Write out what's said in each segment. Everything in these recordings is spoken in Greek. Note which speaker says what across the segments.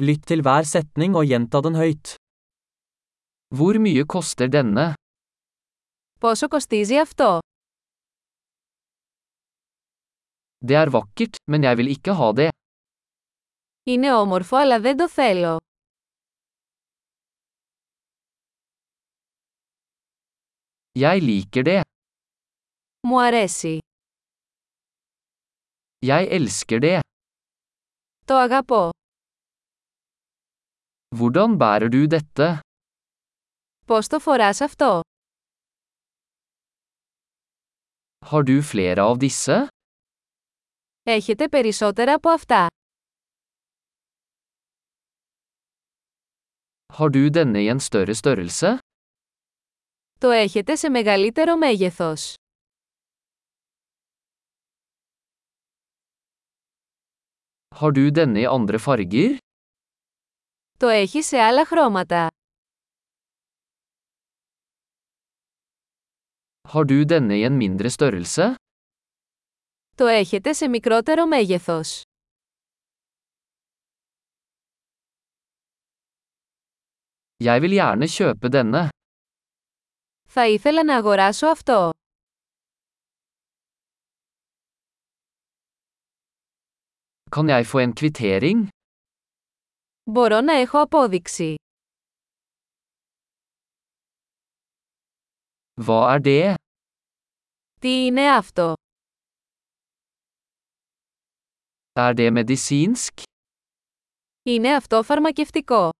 Speaker 1: Lytt til hver setning og gjenta den høyt. Hvor mye koster denne?
Speaker 2: Πόσο κοστίζει αυτό?
Speaker 1: Det er vakkert, men jeg vil ikke ha det.
Speaker 2: Είναι όμορφο αλλά δεν το θέλω.
Speaker 1: Jeg liker det.
Speaker 2: Μου αρέσει.
Speaker 1: Jeg elsker det.
Speaker 2: Το αγαπώ.
Speaker 1: Hvordan bærer du dette?
Speaker 2: Πώς το φοράς αυτό?
Speaker 1: Har du flere av disse?
Speaker 2: Έχετε περισσότερα από αυτά.
Speaker 1: Har du denne i en større størrelse?
Speaker 2: Το έχετε σε μεγαλύτερο μέγεθος.
Speaker 1: Har du denne i andre farger?
Speaker 2: Το έχει σε άλλα χρώματα.
Speaker 1: Har du denne i en mindre størrelse?
Speaker 2: Το έχετε σε μικρότερο μέγεθος.
Speaker 1: Jeg vil gjerne kjøpe denne.
Speaker 2: Θα ήθελα να αγοράσω αυτό.
Speaker 1: Kan jeg få en kvittering?
Speaker 2: Μπορώ να έχω απόδειξη.
Speaker 1: Hva er det?
Speaker 2: Τι είναι αυτό?
Speaker 1: Er det medisinsk?
Speaker 2: Είναι αυτό φαρμακευτικό.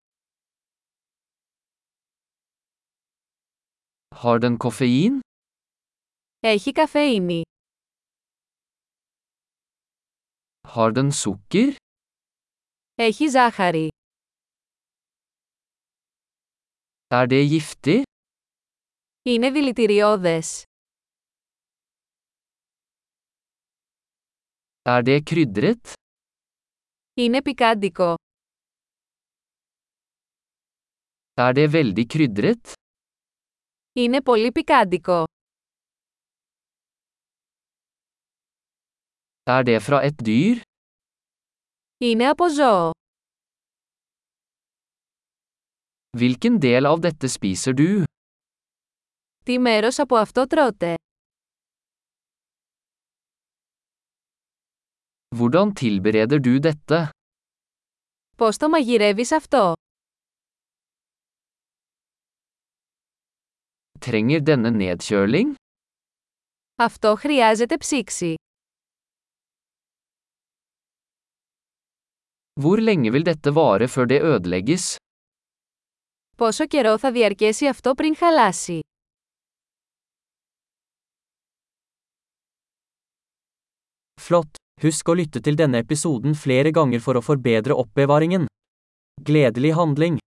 Speaker 1: Har den koffein?
Speaker 2: Έχει καφεΐνη.
Speaker 1: Har den sukker?
Speaker 2: Έχει ζάχαρη.
Speaker 1: Er det giftig?
Speaker 2: Είναι δηλητηριώδες.
Speaker 1: Er det krydret?
Speaker 2: Είναι πικάντικο.
Speaker 1: Er det veldig krydret?
Speaker 2: Είναι πολύ πικάντικο.
Speaker 1: Er det fra et dyr?
Speaker 2: Είναι από ζώο.
Speaker 1: Hvilken del av dette spiser du?
Speaker 2: Τι μέρος από αυτό τρώτε.
Speaker 1: Hvordan tilbereder du dette?
Speaker 2: Πώς το μαγειρεύεις αυτό.
Speaker 1: Trenger denne nedkjøling?
Speaker 2: Αυτό χρειάζεται ψήξη.
Speaker 1: Hvor lenge vil dette vare før det ødelegges?
Speaker 2: Πόσο καιρό θα διαρκέσει αυτό πριν χαλάσει.
Speaker 1: Flott! Husk å lytte til denne episoden flere ganger for å forbedre oppbevaringen. Gledelig handling!